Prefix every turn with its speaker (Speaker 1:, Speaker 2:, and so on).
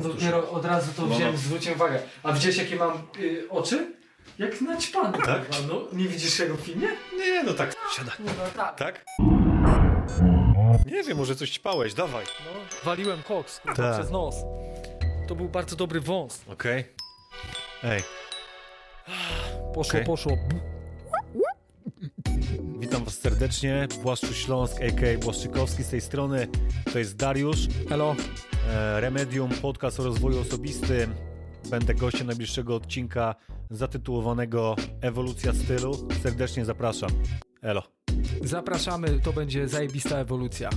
Speaker 1: Dopiero od razu to
Speaker 2: No,
Speaker 1: wziąłem,
Speaker 2: no.
Speaker 1: zwróciłem uwagę. A widziałeś jakie mam y, oczy? Jak naćpane.
Speaker 2: Tak?
Speaker 1: kurwa, No, nie widzisz jego w filmie?
Speaker 2: Nie, no tak. Siada.
Speaker 1: Kurwa, tak.
Speaker 2: Tak? Nie wiem, może coś ćpałeś, dawaj.
Speaker 1: No, waliłem koks kurwa,
Speaker 2: Tak.
Speaker 1: przez nos. To był bardzo dobry wąs.
Speaker 2: Okej. Ej,
Speaker 1: Poszło,
Speaker 2: Okej.
Speaker 1: poszło. Bu-
Speaker 2: witam was serdecznie. Błaszczu Śląsk, a.k.a. Błaszczykowski z tej strony. To jest Dariusz.
Speaker 1: Hello.
Speaker 2: E, Remedium, podcast o rozwoju osobistym. Będę gościem najbliższego odcinka zatytułowanego Ewolucja stylu. Serdecznie zapraszam. Elo.
Speaker 1: Zapraszamy, to będzie zajebista ewolucja.